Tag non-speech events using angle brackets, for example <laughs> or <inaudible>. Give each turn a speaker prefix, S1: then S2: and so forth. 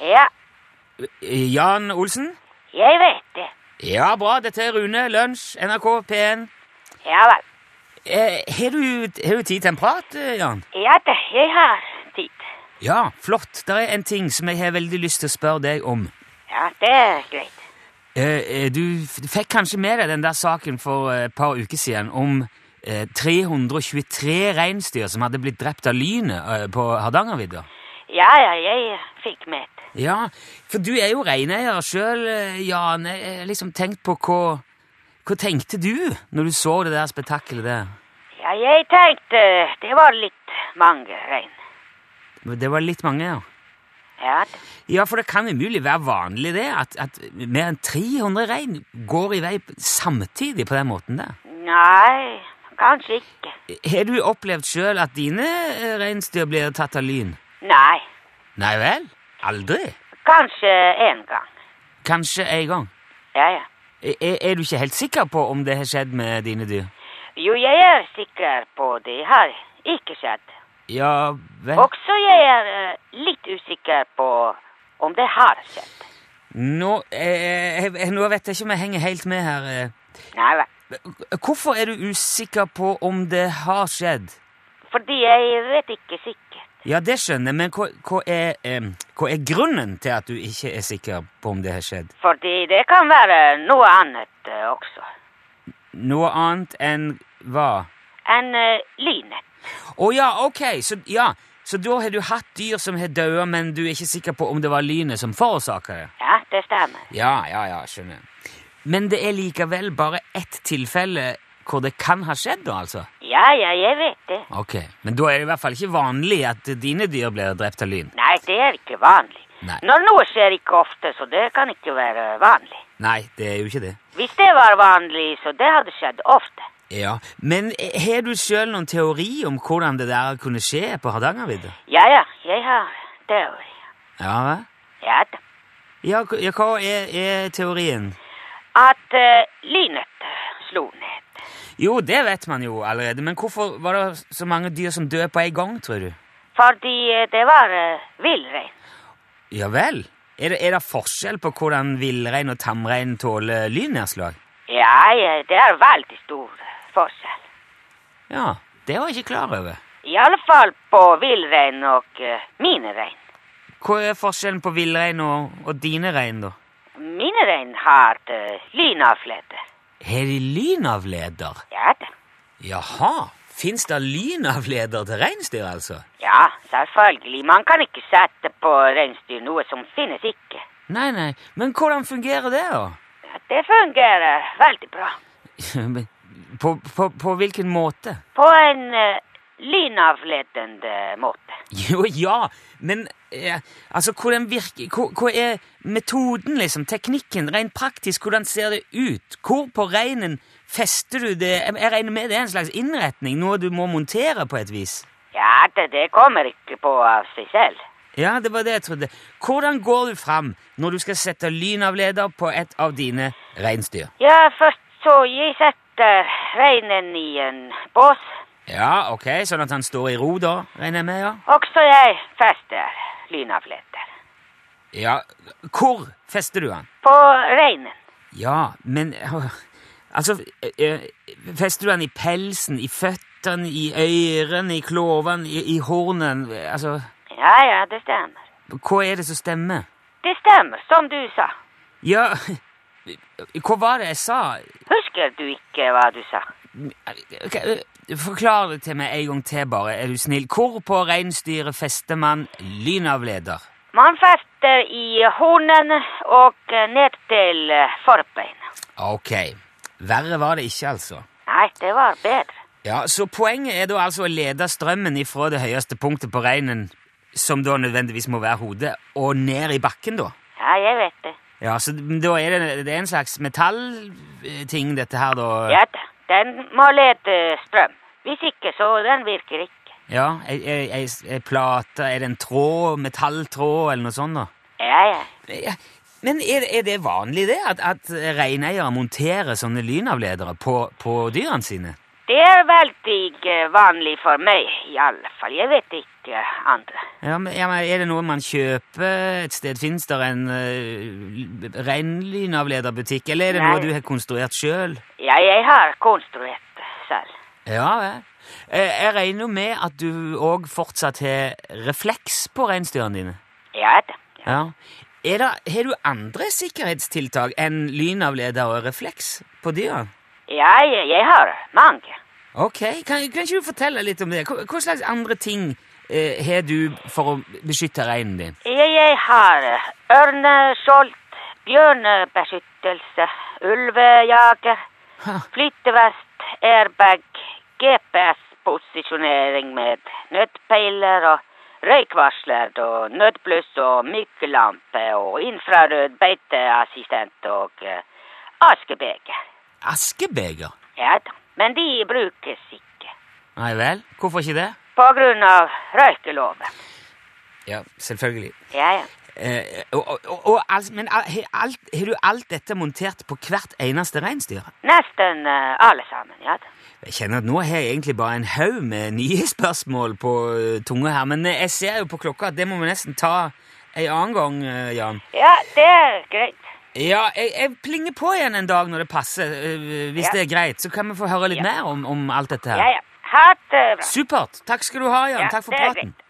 S1: Ja,
S2: Jan Olsen?
S1: jeg vet det.
S2: Ja, bra. Dette er Rune. Lunsj, NRK P1.
S1: Ja vel.
S2: Eh, Har du, har du tid til en prat, eh, Jan?
S1: Ja da, jeg har tid.
S2: Ja, flott. Det er en ting som jeg har veldig lyst til å spørre deg om.
S1: Ja, det er greit.
S2: Eh, eh, du f- fikk kanskje med deg den der saken for eh, et par uker siden om eh, 323 reinsdyr som hadde blitt drept av lynet eh, på Hardangervidda?
S1: Ja, ja, jeg fikk med det.
S2: Ja, for du er jo reineier sjøl, Jan. Jeg jeg har liksom tenkt på hva Hva tenkte du når du så det der spetakkelet der?
S1: Ja, jeg tenkte det var litt mange rein.
S2: Det var litt mange, ja.
S1: Ja, da.
S2: Ja, for det kan umulig være vanlig det, at, at mer enn 300 rein går i vei samtidig på den måten der.
S1: nei, kanskje ikke.
S2: Har du opplevd sjøl at dine eh, reinsdyr blir tatt av lyn?
S1: Nei,
S2: Nei vel? Aldri?
S1: kanskje en gang.
S2: Kanskje en gang.
S1: Ja, ja.
S2: Er, er du ikke helt sikker på om det har skjedd med dine dyr?
S1: Jo, jeg er sikker på det har ikke skjedd.
S2: Ja vel
S1: Også jeg er eh, litt usikker på om det har skjedd.
S2: Nå, eh, jeg- jeg- nå vet jeg ikke om jeg henger helt med her.
S1: Nei vel.
S2: eh. Hvorfor er du usikker på om det har skjedd?
S1: Fordi jeg vet ikke sikkert.
S2: Ja, det skjønner jeg, men hva, hva, er, eh, hva er grunnen til at du ikke er sikker på om det har skjedd?
S1: Fordi det kan være noe annet eh, også.
S2: Noe annet enn hva?
S1: Enn eh, lynet.
S2: Å ja, ok, så, ja. så da har du hatt dyr som har dødd, men du er ikke sikker på om det var lynet som forårsaka det?
S1: Ja, det stemmer.
S2: Ja, ja, ja, skjønner. Men det er likevel bare ett tilfelle hvor det kan ha skjedd, da, altså?
S1: Ja, ja, jeg vet det.
S2: Ok, Men da er det i hvert fall ikke vanlig at dine dyr blir drept av lyn?
S1: Nei, det er ikke vanlig.
S2: Nei.
S1: Når noe skjer ikke ofte, så det kan ikke være vanlig.
S2: Nei, det er jo ikke det.
S1: Hvis det var vanlig, så det hadde skjedd ofte.
S2: Ja, Men eh, har du sjøl noen teori om hvordan det der kunne skje på Hardangervidda?
S1: Ja, ja, jeg har teori.
S2: Ja, hva?
S1: Ja da.
S2: Ja, k- ja, hva er, er teorien?
S1: At eh, lynet slo ned.
S2: Jo, det vet man jo allerede, men hvorfor var det så mange dyr som døde på en gang, tror du?
S1: Fordi eh, det var uh, villrein.
S2: Ja vel? Er det, er det forskjell på hvordan villrein og tamrein tåler lynnedslag?
S1: Ja, ja, det er veldig stor forskjell.
S2: Ja, det var jeg ikke klar over.
S1: I alle fall på villrein og uh, mine rein.
S2: Hva er forskjellen på villrein og, og dine rein, da?
S1: Mine rein har uh, lynavleder.
S2: Har de lynavleder?
S1: Ja da.
S2: Jaha, fins det lynavleder til reinsdyr, altså?
S1: Ja, selvfølgelig. Man kan ikke sette på reinsdyr noe som finnes ikke.
S2: Nei, nei, men hvordan fungerer det, da? <laughs>
S1: Ja, Det fungerer veldig bra.
S2: Men på, på, på hvilken måte? <laughs>
S1: På en uh, lynavledende måte.
S2: Jo, ja, men eh, altså, hvordan virker hva, hva er metoden, liksom? Teknikken, rent praktisk, hvordan ser det ut? Hvor på reinen fester du det? Jeg jeg regner med det er en slags innretning, noe du må montere på et vis?
S1: Ja, det, det kommer ikke på av seg selv.
S2: Ja, det var det jeg trodde. Hvordan går du fram når du skal sette lynavleder på et av dine reinsdyr?
S1: Ja, først så jeg setter reinen i en bås,
S2: Ja, ok, sånn at han står i ro da, regner jeg med, ja?
S1: og så jeg fester lynavleder.
S2: Ja, hvor fester du han?
S1: På reinen.
S2: Ja, men øh, Altså, øh, fester du han i pelsen, i føttene, i ørene, i klovene, i, i hornen? Altså,
S1: Ja, ja, det stemmer.
S2: hva er det som stemmer?
S1: Det stemmer, som du sa.
S2: Ja, <laughs> hva var det jeg sa?
S1: Husker du ikke hva du sa?
S2: Ok, øh, Forklar det til meg en gang til, bare, er du snill. Hvor på reinsdyret fester man lynavleder?
S1: Man fester i hornen og eh, ned til eh, forbeina.
S2: Ok, verre var det ikke, altså.
S1: Nei, det var bedre.
S2: Ja, Så poenget er da altså å lede strømmen ifra det høyeste punktet på reinen, som da nødvendigvis må være hodet, og ned i bakken, da?
S1: Ja, jeg vet det.
S2: Ja, så da er det, det er en slags metallting, dette her, da?
S1: Ja da, den må lede strøm. Hvis ikke, så den virker ikke.
S2: ja ei, ei, ei, ei plate, er det en tråd, metalltråd, eller noe sånt, da?
S1: Ja, ja.
S2: Ja, Men er, det- er det vanlig det, at, at reineiere monterer sånne lynavledere på, på dyrene sine?
S1: Det er veldig eh, vanlig for meg, i alle fall. Jeg vet ikke. ikke andre.
S2: Ja, men, ja, men Er det noe man kjøper et sted? Fins det en uh, reinlynavlederbutikk, eller er det
S1: Nei.
S2: noe du har konstruert sjøl?
S1: Ja, jeg har konstruert selv.
S2: Ja vel. Eh, Jeg regner jo med at du òg fortsatt har refleks på reinsdyrene dine.
S1: Ja da. Ja.
S2: Ja. Er det, har du andre sikkerhetstiltak enn lynavleder og refleks på dyra?
S1: Ja, jeg, jeg har mange.
S2: Ok, kan, kan ikke du fortelle litt om det? Hva, hva slags andre ting eh, har du for å beskytte reinen din?
S1: Jeg, jeg har ørneskjold, bjørnebeskyttelse, ulvejager,
S2: Ha,
S1: flyttevest, airbag, GPS-posisjonering med nødpeiler og røykvarsler og nødbluss og myklampe og infrarød beiteassistent og eh, askebeger.
S2: askebeger?
S1: Ja da, men de brukes ikke.
S2: Nei vel, hvorfor ikke det?
S1: På grunn av røykeloven.
S2: Ja, selvfølgelig.
S1: Ja, ja.
S2: Eh, og, og, og, og, altså, men al- har alt- har du alt dette montert på hvert eneste reinsdyr?
S1: Nesten eh, alle sammen, ja da.
S2: Jeg kjenner at nå har jeg egentlig bare en haug med nye <laughs> spørsmål på eh, tunga her, men eh, jeg ser jo på klokka at det må vi nesten ta en annen gang, eh, Jan.
S1: Ja, det er greit.
S2: Ja, jeg, jeg plinger på igjen en dag når det passer, eh, hvis
S1: Ja.
S2: det er greit. Så kan vi få høre litt
S1: Ja.
S2: mer om, om alt dette her.
S1: Ja, ja. Ha det bra.
S2: Supert! Takk skal du ha, Jan.
S1: Ja,
S2: Takk for
S1: det er
S2: praten.
S1: greit.